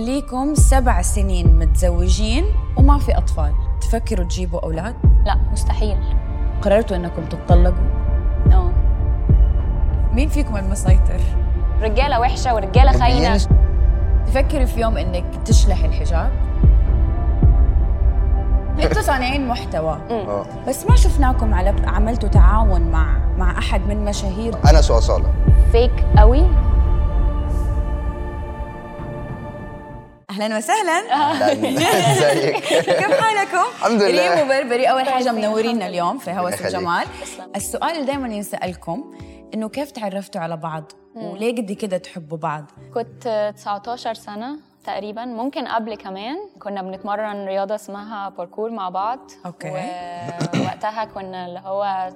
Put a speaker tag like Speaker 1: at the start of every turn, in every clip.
Speaker 1: ليكم سبع سنين متزوجين وما في أطفال تفكروا تجيبوا أولاد؟
Speaker 2: لا مستحيل
Speaker 1: قررتوا أنكم تتطلقوا؟
Speaker 2: اه
Speaker 1: مين فيكم المسيطر؟
Speaker 2: رجاله وحشه ورجاله
Speaker 3: يعني
Speaker 2: خاينه
Speaker 1: تفكري في يوم أنك تشلحي الحجاب؟ انتوا صانعين محتوى
Speaker 3: اه
Speaker 1: بس ما شفناكم على عملتوا تعاون مع مع احد من مشاهير
Speaker 3: انس واصاله
Speaker 2: فيك قوي
Speaker 1: اهلا وسهلا
Speaker 3: لا، ازيك
Speaker 1: كيف حالكم؟
Speaker 3: الحمد لله.
Speaker 1: ريم وبربري اول حاجه
Speaker 2: كويسين،
Speaker 1: منورينا
Speaker 2: الحمد
Speaker 1: اليوم في هوس
Speaker 3: يخليك.
Speaker 1: الجمال
Speaker 2: تسلم.
Speaker 1: السؤال اللي دائما ينسالكم انه كيف تعرفتوا على بعض؟ وليه قد كده تحبوا بعض؟
Speaker 2: كنت 19 سنه تقريبا ممكن قبل كمان كنا بنتمرن رياضه اسمها باركور مع بعض
Speaker 1: أوكي.
Speaker 2: ووقتها كنا اللي هو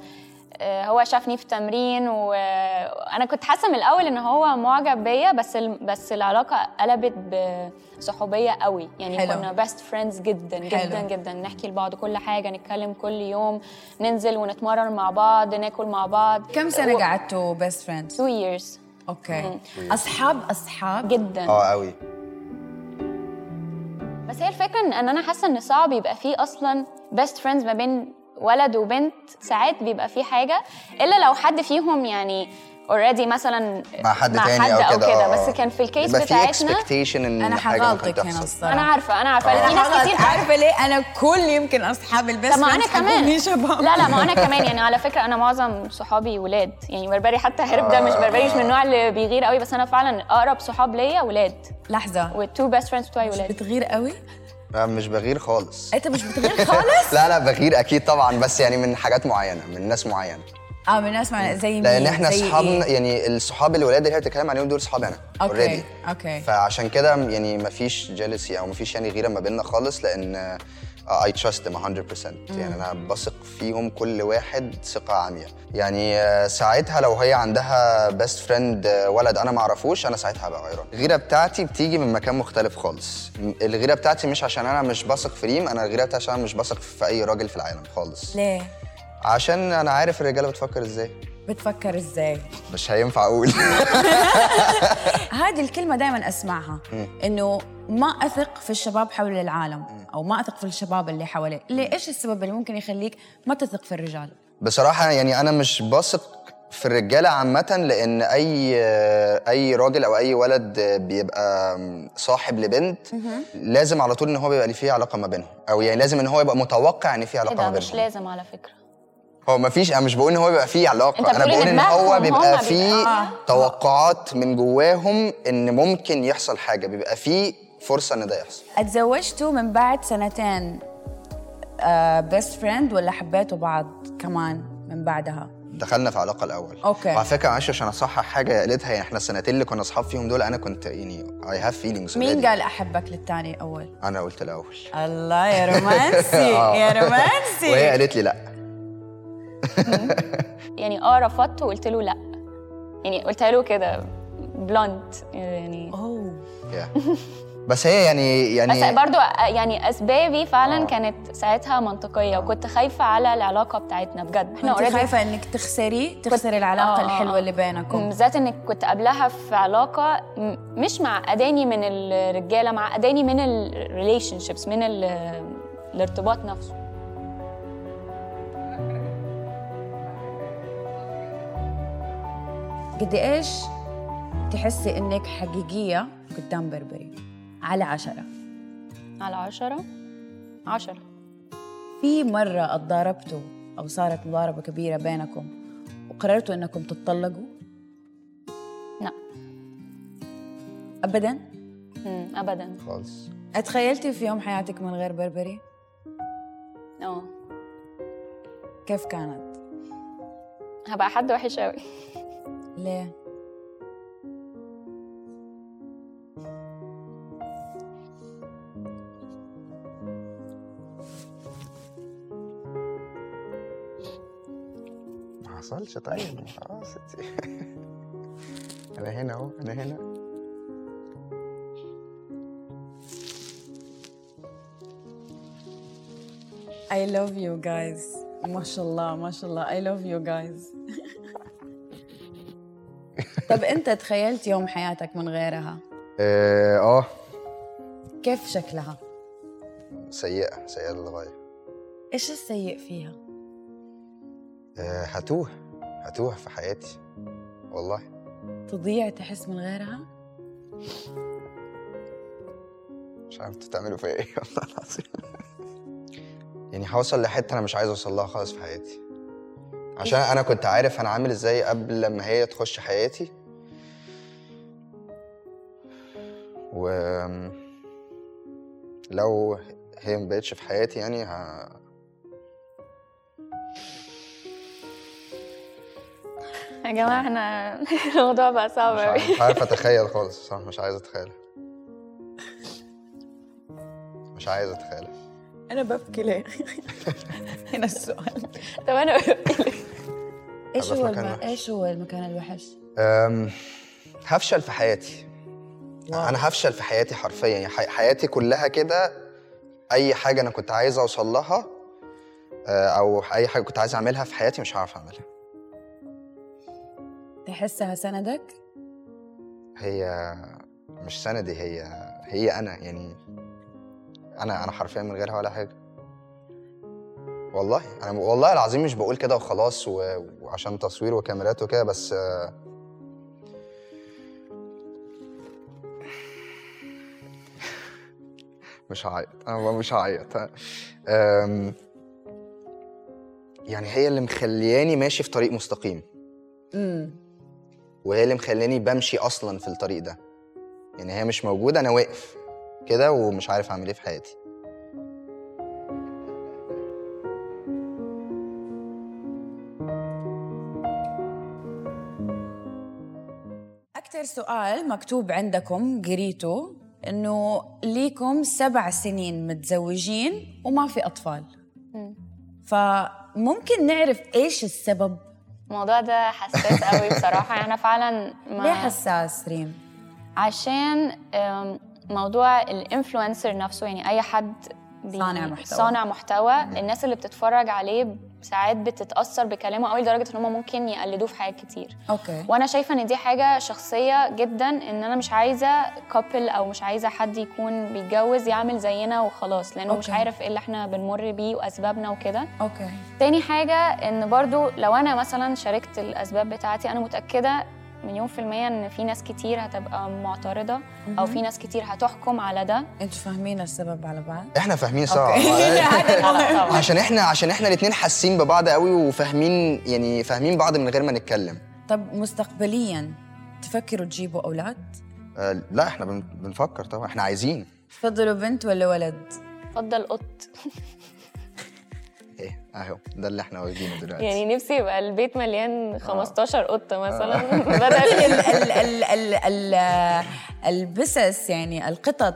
Speaker 2: آه، هو شافني في تمرين وانا كنت حاسه من الاول ان هو معجب بيا بس ال... بس العلاقه قلبت بصحوبيه قوي يعني
Speaker 1: حلو.
Speaker 2: حلو. كنا بيست فريندز جدا
Speaker 1: حلو.
Speaker 2: جدا جدا نحكي لبعض كل حاجه نتكلم كل يوم ننزل ونتمرن مع بعض ناكل مع بعض
Speaker 1: كم سنه قعدتوا بيست فريندز؟
Speaker 2: 2 years
Speaker 1: اوكي اصحاب اصحاب
Speaker 2: جدا
Speaker 3: اه قوي
Speaker 2: بس هي الفكره ان إن انا حاسه ان صعب يبقى فيه اصلا بيست فريندز ما بين ولد وبنت ساعات بيبقى فيه حاجه الا لو حد فيهم يعني اوريدي مثلا
Speaker 3: مع حد
Speaker 2: مع
Speaker 3: تاني
Speaker 2: حد
Speaker 3: او كده آه، آه.
Speaker 2: بس كان في الكيس
Speaker 3: يبقى في
Speaker 2: بتاعتنا
Speaker 3: اكسبكتيشن ان
Speaker 1: انا
Speaker 3: حاجة ممكن
Speaker 1: حغلطك هنا
Speaker 3: تحصل.
Speaker 1: الصراحه
Speaker 2: انا عارفه انا عارفه لأن في ناس
Speaker 1: خلاص،
Speaker 2: كتير
Speaker 1: عارفه ليه انا كل يمكن اصحاب البيست
Speaker 2: طب ما انا
Speaker 1: فريندز حيكونوا
Speaker 2: كمان
Speaker 1: شباب
Speaker 2: لا لا ما انا كمان يعني على فكره انا معظم صحابي ولاد يعني بربري حتى هرب ده
Speaker 3: آه.
Speaker 2: مش بربري مش من النوع اللي بيغير قوي بس انا فعلا اقرب صحاب ليا ولاد
Speaker 1: لحظه
Speaker 2: والتو بيست فريندز بتوعي
Speaker 1: مش
Speaker 2: ولاد
Speaker 1: بتغير قوي
Speaker 3: انا آه، مش بغير خالص
Speaker 1: انت مش بتغير خالص
Speaker 3: لا لا بغير اكيد طبعا بس يعني من حاجات معينه من ناس معينه
Speaker 1: اه من ناس معنا زي مين
Speaker 3: لان احنا
Speaker 1: زي
Speaker 3: اصحابنا
Speaker 1: إيه؟
Speaker 3: يعني الصحاب الولاد اللي هي بتتكلم عليهم دول صحابي انا
Speaker 1: اوكي
Speaker 3: اوريدي
Speaker 1: اوكي
Speaker 3: فعشان كده يعني مفيش جالسي او مفيش يعني غيره ما بيننا خالص لان اي تراست them 100% يعني انا بثق فيهم كل واحد ثقه عمياء يعني آه، ساعتها لو هي عندها بيست فريند ولد انا ما اعرفوش انا ساعتها هبقى غيران الغيره بتاعتي بتيجي من مكان مختلف خالص م- الغيره بتاعتي مش عشان انا مش بثق في ريم انا الغيره بتاعتي عشان أنا مش بثق في اي راجل في العالم خالص
Speaker 1: ليه
Speaker 3: عشان انا عارف الرجاله بتفكر ازاي
Speaker 1: بتفكر ازاي
Speaker 3: مش هينفع اقول
Speaker 1: هذه الكلمه دائما اسمعها انه ما اثق في الشباب حول العالم او ما اثق في الشباب اللي حواليك ليه ايش السبب اللي ممكن يخليك ما تثق في الرجال
Speaker 3: بصراحة يعني أنا مش بثق في الرجالة عامة لأن أي أي راجل أو أي ولد بيبقى صاحب لبنت لازم على طول إن هو بيبقى ليه فيه علاقة ما بينهم أو يعني لازم إن هو يبقى متوقع إن في
Speaker 2: ايه
Speaker 3: علاقة ما
Speaker 2: ده مش
Speaker 3: بينهم
Speaker 2: لازم على فكره
Speaker 3: هو ما فيش أنا مش بقول إن هو بيبقى فيه
Speaker 2: أنت
Speaker 3: علاقة أنا
Speaker 2: بتقول
Speaker 3: بقول
Speaker 2: إن
Speaker 3: إن هو
Speaker 2: دماغهم هما
Speaker 3: بيبقى
Speaker 2: بيبقى-
Speaker 3: فيه
Speaker 2: آه.
Speaker 3: توقعات من جواهم إن ممكن يحصل حاجة بيبقى فيه فرصة إن ده يحصل
Speaker 1: اتزوجتوا من بعد سنتين بيست فريند ولا حبيتوا بعض كمان من بعدها
Speaker 3: دخلنا في علاقه الاول
Speaker 1: أوكي.
Speaker 3: وعلى فكره معلش عشان اصحح حاجه قالتها يعني احنا السنتين اللي كنا اصحاب فيهم دول انا كنت يعني اي هاف فيلينجز
Speaker 1: مين قال احبك للثاني اول
Speaker 3: انا قلت الاول
Speaker 1: الله يا رومانسي
Speaker 3: آه.
Speaker 1: يا رومانسي
Speaker 3: وهي قالت لي لا
Speaker 2: يعني اه رفضت وقلت له لا يعني قلت له كده بلونت يعني
Speaker 1: أوه.
Speaker 3: Yeah. بس هي يعني
Speaker 2: بس
Speaker 3: يعني آه.
Speaker 2: برضو يعني اسبابي فعلا كانت ساعتها منطقيه وكنت خايفه على العلاقه بتاعتنا بجد احنا
Speaker 1: كنت
Speaker 2: already-
Speaker 1: خايفه انك تخسري تخسري العلاقه
Speaker 2: آه، آه،
Speaker 1: الحلوه
Speaker 2: آه.
Speaker 1: اللي بينكم
Speaker 2: بالذات انك كنت قبلها في علاقه م- مش مع اداني من الرجاله مع اداني من الريليشن شيبس من ال الارتباط نفسه
Speaker 1: قد ايش تحسي انك حقيقيه قدام بربري على عشرة
Speaker 2: على عشرة عشرة
Speaker 1: في مره اتضاربتوا او صارت مضاربه كبيره بينكم وقررتوا انكم تتطلقوا
Speaker 2: لا
Speaker 1: ابدا
Speaker 2: مم، ابدا
Speaker 3: خالص
Speaker 1: اتخيلتي في يوم حياتك من غير بربري
Speaker 2: اه
Speaker 1: كيف كانت
Speaker 2: هبقى حد وحش قوي
Speaker 1: ليه
Speaker 3: ما حصلش طيب خلاص انا هنا اهو انا هنا
Speaker 1: I love you guys ما شاء الله ما شاء الله I love you guys طب انت تخيلت يوم حياتك من غيرها
Speaker 3: اه آه.
Speaker 1: كيف شكلها؟
Speaker 3: سيئه سيئه للغايه
Speaker 1: ايش السيء فيها؟
Speaker 3: آه، هتوه هتوه في حياتي والله
Speaker 1: تضيع تحس من غيرها؟
Speaker 3: مش عارف انتوا بتعملوا فيا ايه والله العظيم يعني هوصل لحته انا مش عايز اوصل لها خالص في حياتي عشان انا كنت عارف انا عامل ازاي قبل لما هي تخش حياتي و لو هي مبقتش في حياتي يعني ه...
Speaker 2: يا جماعه احنا الموضوع بقى صعب
Speaker 3: مش
Speaker 2: قوي
Speaker 3: عارف- مش عارف اتخيل خالص بصراحه مش عايز اتخيل مش عايز اتخيل
Speaker 1: انا ببكي ليه؟ هنا السؤال
Speaker 2: طب انا بقول لك.
Speaker 1: ايش
Speaker 3: أبقى في
Speaker 1: هو
Speaker 3: مكان
Speaker 1: الم...
Speaker 3: وحش.
Speaker 1: ايش هو المكان الوحش؟
Speaker 3: أم، هفشل في حياتي انا هفشل في حياتي حرفيا يعني حي- حياتي كلها كده اي حاجه انا كنت عايز اوصل لها آه، او اي حاجه كنت عايز اعملها في حياتي مش هعرف اعملها
Speaker 1: تحسها سندك؟
Speaker 3: هي مش سندي هي هي انا يعني انا انا حرفيا من غيرها ولا حاجه والله انا والله العظيم مش بقول كده وخلاص و- وعشان تصوير وكاميرات وكده بس آه، مش هعيط انا والله مش هعيط آم، يعني هي اللي مخلياني ماشي في طريق مستقيم
Speaker 1: امم
Speaker 3: وهي اللي مخلاني بمشي اصلا في الطريق ده يعني هي مش موجوده انا واقف كده ومش عارف اعمل ايه في حياتي
Speaker 1: اكثر سؤال مكتوب عندكم قريته انه ليكم سبع سنين متزوجين وما في اطفال
Speaker 2: مم.
Speaker 1: فممكن نعرف ايش السبب؟
Speaker 2: الموضوع ده حساس قوي بصراحه انا فعلا ما
Speaker 1: ليه حساس ريم؟
Speaker 2: عشان أم، موضوع الانفلونسر نفسه يعني اي حد بي-
Speaker 1: صانع محتوى.
Speaker 2: صانع محتوى الناس اللي بتتفرج عليه ساعات بتتاثر بكلامه قوي لدرجه ان هم ممكن يقلدوه في حاجات كتير
Speaker 1: اوكي
Speaker 2: وانا شايفه ان دي حاجه شخصيه جدا ان انا مش عايزه كابل او مش عايزه حد يكون بيتجوز يعمل زينا وخلاص لانه مش
Speaker 1: أوكي.
Speaker 2: عارف ايه اللي احنا بنمر بيه واسبابنا وكده
Speaker 1: اوكي
Speaker 2: تاني حاجة إن برضو لو أنا مثلا شاركت الأسباب بتاعتي أنا متأكدة مليون في المية إن في ناس كتير هتبقى معترضة أو في ناس كتير هتحكم على ده
Speaker 1: انتوا فاهمين السبب على بعض؟
Speaker 3: احنا فاهمين
Speaker 2: لا،
Speaker 3: سوا آه.
Speaker 2: لا، طبعاً.
Speaker 3: عشان احنا عشان احنا الاتنين حاسين ببعض قوي وفاهمين يعني فاهمين بعض من غير ما نتكلم
Speaker 1: طب مستقبليا تفكروا تجيبوا اولاد؟
Speaker 3: آه، لا احنا بن- بنفكر طبعا احنا عايزين
Speaker 1: تفضلوا بنت ولا ولد؟
Speaker 2: اتفضل قط
Speaker 3: ايه اهو ده اللي احنا واخدينه دلوقتي
Speaker 2: يعني نفسي يبقى البيت مليان 15 قط مثلا بدل
Speaker 1: ال ال ال ال البسس يعني القطط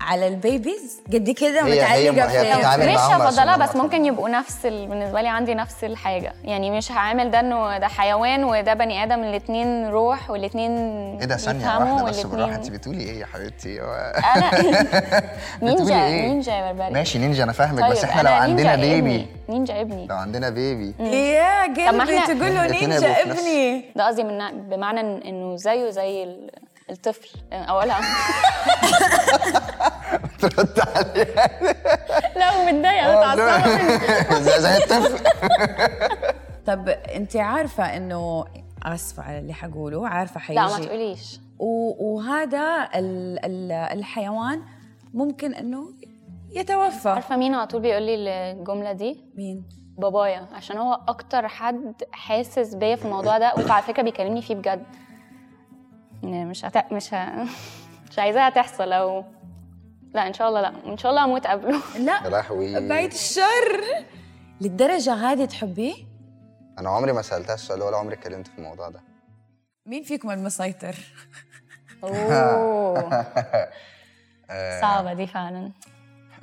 Speaker 1: على البيبيز قد كده
Speaker 3: هي- هي
Speaker 1: متعلقه
Speaker 3: هي بتتعامل-
Speaker 1: في
Speaker 2: يعني مش
Speaker 3: معاهم عشان
Speaker 2: هفضلها
Speaker 3: يعني هم
Speaker 2: بس ممكن يبقوا نفس ال... بالنسبة لي عندي نفس الحاجة يعني مش هعامل ده إنه ده حيوان وده بني آدم الاتنين روح والاتنين
Speaker 3: ايه ده ثانيه
Speaker 2: بيفهموا
Speaker 3: واحده بس
Speaker 2: والاتنين-
Speaker 3: بالراحه انت بتقولي ايه يا حبيبتي هو-
Speaker 2: أنا
Speaker 3: بتقولي
Speaker 2: نينجا
Speaker 3: ايه؟
Speaker 2: نينجا يا بربري
Speaker 3: ماشي نينجا انا فاهمك
Speaker 2: طيب
Speaker 3: بس احنا لو
Speaker 2: أنا
Speaker 3: عندنا
Speaker 2: نينجا إيه؟
Speaker 3: بيبي
Speaker 2: ابني. نينجا ابني
Speaker 3: لو عندنا بيبي
Speaker 1: يا
Speaker 2: طب ما
Speaker 1: قلبي
Speaker 2: إحنا-
Speaker 1: تقول له
Speaker 3: الاتنين
Speaker 1: نينجا
Speaker 3: هيبقوا في نفس-
Speaker 1: ابني
Speaker 2: ده قصدي من بمعنى إن- انه زيه زي ال- الطفل اولها
Speaker 3: ترد عليها
Speaker 2: لا متضايقه انا
Speaker 3: آه،
Speaker 2: اتعصبت
Speaker 3: زي زي الطفل
Speaker 1: طب انت عارفه انه اسفه على اللي حقوله عارفه حيجي
Speaker 2: لا ما تقوليش
Speaker 1: و- وهذا ال ال الحيوان ممكن انه يتوفى
Speaker 2: عارفه مين على طول بيقول لي الجمله دي
Speaker 1: مين
Speaker 2: بابايا عشان هو اكتر حد حاسس بيا في الموضوع ده وعلى فكره بيكلمني فيه بجد يعني مش هت... مش ه... مش عايزاها تحصل او لا ان شاء الله لا ان شاء الله اموت قبله
Speaker 3: يا
Speaker 1: لا
Speaker 3: لهوي
Speaker 1: بعيد الشر للدرجه هذه تحبيه
Speaker 3: انا عمري ما سالتها السؤال ولا عمري اتكلمت في الموضوع ده
Speaker 1: مين فيكم المسيطر
Speaker 2: اوه صعبه دي فعلا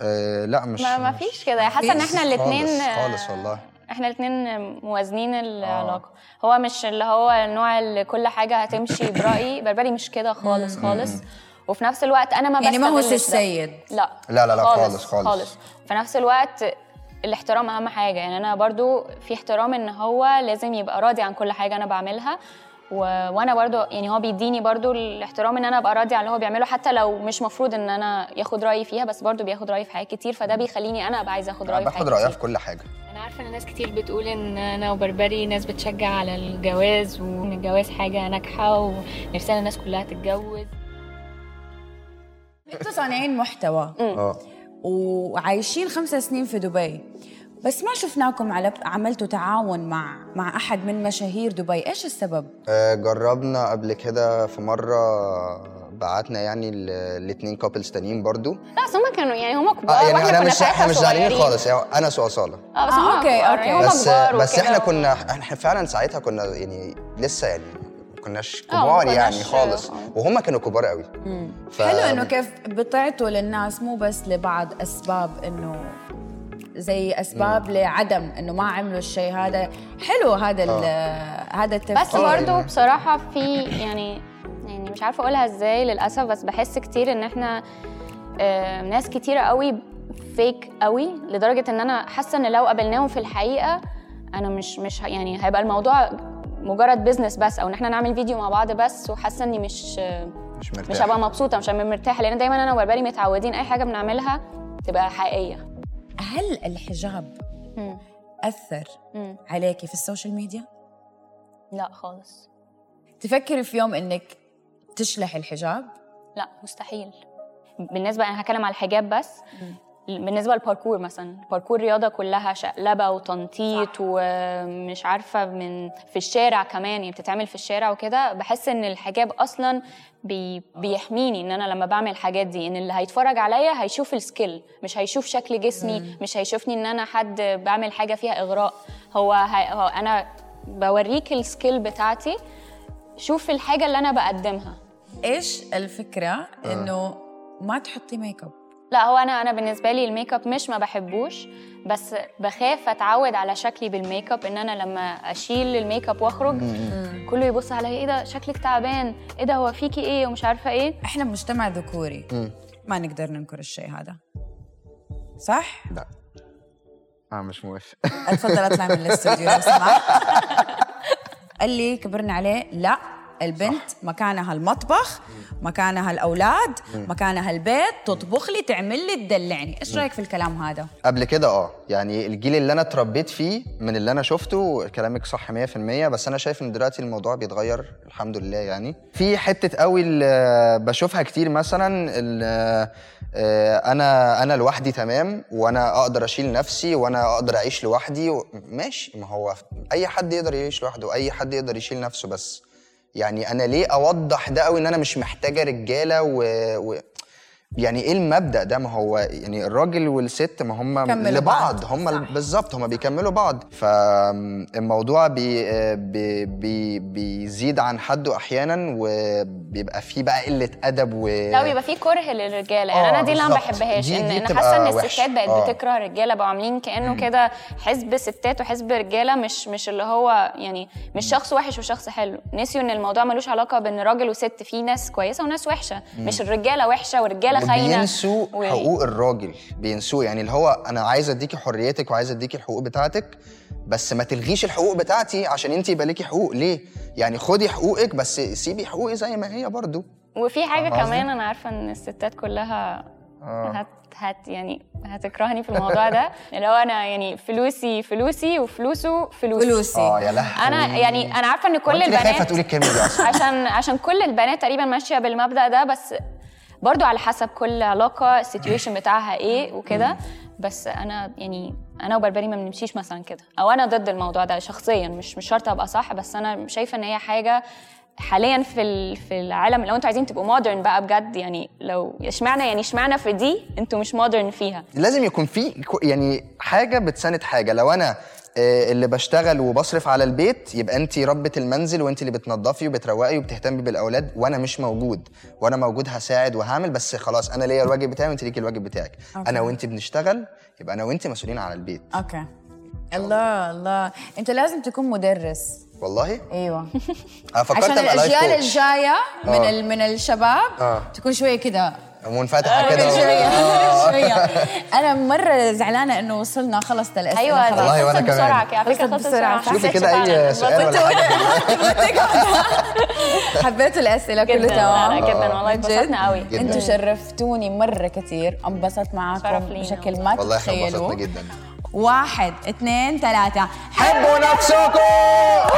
Speaker 3: أه لا مش
Speaker 2: ما ما فيش كده حاسه ان
Speaker 3: مفيش
Speaker 2: احنا الاثنين
Speaker 3: خالص خالص
Speaker 2: آه،
Speaker 3: والله.
Speaker 2: احنا الاثنين موازنين
Speaker 3: آه.
Speaker 2: العلاقه هو مش اللي هو النوع اللي كل حاجه هتمشي برايي بربري مش كده خالص خالص وفي نفس الوقت انا ما
Speaker 1: يعني ما هو
Speaker 2: بستغلش ده.
Speaker 1: السيد.
Speaker 2: لا
Speaker 3: لا، لا، لا، خالص، خالص.
Speaker 2: خالص في نفس الوقت الاحترام اهم حاجه يعني انا برضو في احترام ان هو لازم يبقى راضي عن كل حاجه انا بعملها و... وانا برضو يعني هو بيديني برضو الاحترام ان انا ابقى راضيه على اللي هو بيعمله حتى لو مش مفروض ان انا ياخد رايي فيها بس برضو بياخد رايي في حاجات كتير فده بيخليني انا ابقى عايزه اخد
Speaker 3: انا
Speaker 2: رايي في
Speaker 3: باخد
Speaker 2: حاجات
Speaker 3: رايها
Speaker 2: كتير
Speaker 3: في كل حاجه
Speaker 4: انا عارفه ان ناس كتير بتقول ان انا وبربري ناس بتشجع على الجواز وان الجواز حاجه ناجحه ونفسنا الناس كلها تتجوز
Speaker 1: انتوا صانعين محتوى
Speaker 3: اه
Speaker 1: وعايشين خمسة سنين في دبي بس ما شفناكم على عملتوا تعاون مع مع احد من مشاهير دبي ايش السبب
Speaker 3: آه، جربنا قبل كده في مره بعتنا يعني الاثنين كابلز تانيين برضو
Speaker 2: لا بس هم كانوا يعني هم كبار
Speaker 3: اه يعني
Speaker 2: واحنا
Speaker 3: انا
Speaker 2: كنا
Speaker 3: مش احنا
Speaker 2: ساعتها
Speaker 3: مش زعلانين
Speaker 2: صغيرين.
Speaker 3: خالص يعني انا واصاله
Speaker 2: اه بس
Speaker 1: آه،
Speaker 2: هم
Speaker 1: أوكي،
Speaker 2: كبار،
Speaker 1: أوكي.
Speaker 2: هم
Speaker 3: بس
Speaker 2: كبار
Speaker 3: بس
Speaker 2: وكده.
Speaker 3: احنا كنا احنا فعلا ساعتها كنا يعني لسه يعني ما كناش
Speaker 2: آه، ما
Speaker 3: كبار
Speaker 2: كناش-
Speaker 3: يعني خالص
Speaker 2: آه.
Speaker 3: وهم كانوا كبار قوي ف-
Speaker 1: حلو انه كيف بطعتوا للناس مو بس لبعض اسباب انه زي اسباب لعدم انه ما عملوا الشيء هذا حلو هذا ال- هذا التفكير
Speaker 2: بس برضو بصراحة في يعني يعني مش عارفة أقولها إزاي للأسف بس بحس كتير إن إحنا آه، ناس كتيرة قوي فيك قوي لدرجة إن أنا حاسة إن لو قابلناهم في الحقيقة أنا مش مش ه- يعني هيبقى الموضوع مجرد بيزنس بس أو إن إحنا نعمل فيديو مع بعض بس وحاسة إني مش
Speaker 3: مش مرتاح
Speaker 2: مش هبقى مبسوطة مش هبقى مرتاحة لأن دايما أنا وبربري متعودين أي حاجة بنعملها تبقى حقيقية
Speaker 1: هل الحجاب
Speaker 2: مم.
Speaker 1: اثر
Speaker 2: مم.
Speaker 1: عليكي في السوشيال ميديا
Speaker 2: لا خالص
Speaker 1: تفكري في يوم انك تشلحي الحجاب
Speaker 2: لا مستحيل بالنسبه انا هتكلم على الحجاب بس بالنسبه للباركور مثلا باركور رياضه كلها شقلبه وتنطيط ومش عارفه من في الشارع كمان يعني بتتعمل في الشارع وكده بحس ان الحجاب اصلا بي بيحميني ان انا لما بعمل الحاجات دي ان اللي هيتفرج عليا هيشوف السكيل مش هيشوف شكل جسمي مش هيشوفني ان انا حد بعمل حاجه فيها اغراء هو, هي هو انا بوريك السكيل بتاعتي شوف الحاجه اللي انا بقدمها
Speaker 1: ايش الفكره انه ما تحطي ميك اب
Speaker 2: لا هو انا انا بالنسبه لي الميك اب مش ما بحبوش بس بخاف اتعود على شكلي بالميك اب ان انا لما اشيل الميك اب واخرج كله يبص عليا ايه ده شكلك تعبان ايه ده هو فيكي ايه ومش عارفه ايه
Speaker 1: احنا بمجتمع ذكوري ما نقدر ننكر الشيء هذا صح
Speaker 3: لا انا آه، مش موافق
Speaker 1: اتفضل اطلع من الاستوديو لو سمحت اللي كبرنا عليه لا البنت مكانها المطبخ مكانها الاولاد مكانها البيت تطبخ لي تعمل لي تدلعني ايش رايك في الكلام هذا
Speaker 3: قبل كده اه يعني الجيل اللي انا اتربيت فيه من اللي انا شفته كلامك صح 100% بس انا شايف ان دلوقتي الموضوع بيتغير الحمد لله يعني في حته قوي اللي بشوفها كتير مثلا ال- آه، انا انا لوحدي تمام وانا اقدر اشيل نفسي وانا اقدر اعيش لوحدي و- ماشي ما هو اي حد يقدر يعيش لوحده اي حد يقدر يشيل نفسه بس يعني انا ليه اوضح ده قوي ان انا مش محتاجه رجاله و... و... يعني ايه المبدا ده ما هو يعني الراجل والست ما هم
Speaker 1: كملوا
Speaker 3: لبعض هم ال- بالظبط هم بيكملوا بعض فالموضوع بي بي بي بيزيد عن حده احيانا وبيبقى فيه بقى قله ادب و
Speaker 2: لا بيبقى في كره للرجاله يعني
Speaker 3: إيه. آه،
Speaker 2: انا دي اللي انا ما
Speaker 3: بالظبط.
Speaker 2: بحبهاش
Speaker 3: دي-
Speaker 2: ان
Speaker 3: دي
Speaker 2: انا
Speaker 3: بتبقى
Speaker 2: حاسه ان
Speaker 3: وحشة.
Speaker 2: الستات بقت
Speaker 3: آه.
Speaker 2: بتكره الرجاله بقوا عاملين كانه كده حزب ستات وحزب رجاله مش مش اللي هو يعني مش شخص وحش وشخص حلو نسيوا ان الموضوع ملوش علاقه بان راجل وست في ناس كويسه وناس وحشه مش الرجاله وحشه والرجاله خاينه
Speaker 3: بينسوا
Speaker 2: و-
Speaker 3: حقوق الراجل بينسوه يعني اللي هو انا عايز اديكي حريتك وعايز اديكي الحقوق بتاعتك بس ما تلغيش الحقوق بتاعتي عشان انت يبقى ليكي حقوق ليه يعني خدي حقوقك بس سيبي حقوقي زي ما هي برضو
Speaker 2: وفي حاجه
Speaker 3: فاهمة قصدي؟
Speaker 2: كمان انا عارفه ان الستات كلها
Speaker 3: آه.
Speaker 2: هت هت يعني هتكرهني في الموضوع ده اللي هو انا يعني فلوسي فلوسي وفلوسه فلوسي
Speaker 1: فلوسي
Speaker 3: اه يا لهوي
Speaker 2: انا يعني انا عارفه ان كل
Speaker 3: وأنت ليه خايفه
Speaker 2: البنات
Speaker 3: تقولي الكلمه دي اصلا
Speaker 2: عشان عشان كل البنات تقريبا ماشيه بالمبدا ده بس برضو على حسب كل علاقه السيتويشن بتاعها ايه وكده بس انا يعني انا وبربري ما بنمشيش مثلا كده او انا ضد الموضوع ده شخصيا مش مش شرط ابقى صح بس انا شايفه ان هي حاجه حاليا في ال- في العالم لو انتوا عايزين تبقوا مودرن بقى بجد يعني لو اشمعنى يعني اشمعنى في دي انتوا مش مودرن فيها
Speaker 3: لازم يكون في كو- يعني حاجه بتساند حاجه لو انا آه، اللي بشتغل وبصرف على البيت يبقى انت ربة المنزل وانت اللي بتنظفي وبتروقي وبتهتمي بالاولاد وانا مش موجود وانا موجود هساعد وهعمل بس خلاص انا ليا الواجب بتاعي وانت ليكي الواجب بتاعك
Speaker 1: أوكي.
Speaker 3: انا وانت بنشتغل يبقى انا وانت مسؤولين على البيت
Speaker 1: اوكي الله الله انت لازم تكون مدرس
Speaker 3: والله
Speaker 1: ايوه
Speaker 3: انا فكرت
Speaker 1: عشان
Speaker 3: ابقى لايف
Speaker 1: الاجيال
Speaker 3: كوتش
Speaker 1: الجايه من
Speaker 3: آه.
Speaker 1: ال- من الشباب
Speaker 3: آه.
Speaker 1: تكون شويه كده
Speaker 3: منفتحه كده
Speaker 1: شوية.
Speaker 3: آه،
Speaker 1: حرفيا انا مره زعلانه انه وصلنا خلص الاسئله
Speaker 2: ايوه
Speaker 1: خلص.
Speaker 3: والله وأنا
Speaker 2: خلصت
Speaker 3: كمان.
Speaker 2: بسرعه كده على فكرة
Speaker 1: خلصت
Speaker 2: خلصت
Speaker 1: بسرعة.
Speaker 2: بسرعه
Speaker 3: شوفي
Speaker 2: حسيت
Speaker 3: كده اي
Speaker 2: فعلاً.
Speaker 3: سؤال
Speaker 1: كنت
Speaker 3: ولا حاجة.
Speaker 1: حبيت الاسئله
Speaker 2: جدا
Speaker 1: كله
Speaker 2: لا، لا،
Speaker 1: تمام
Speaker 2: جدا والله
Speaker 1: من جد؟
Speaker 2: اتبسطنا قوي
Speaker 3: جدا.
Speaker 1: انتوا شرفتوني مره كثير انبسطت
Speaker 2: شرف
Speaker 1: معاكم
Speaker 2: لينا.
Speaker 1: بشكل ما
Speaker 3: والله احنا انبسطنا
Speaker 1: تتخيلوا
Speaker 3: جدا
Speaker 1: واحد اثنين ثلاثه
Speaker 3: حبوا نفسكم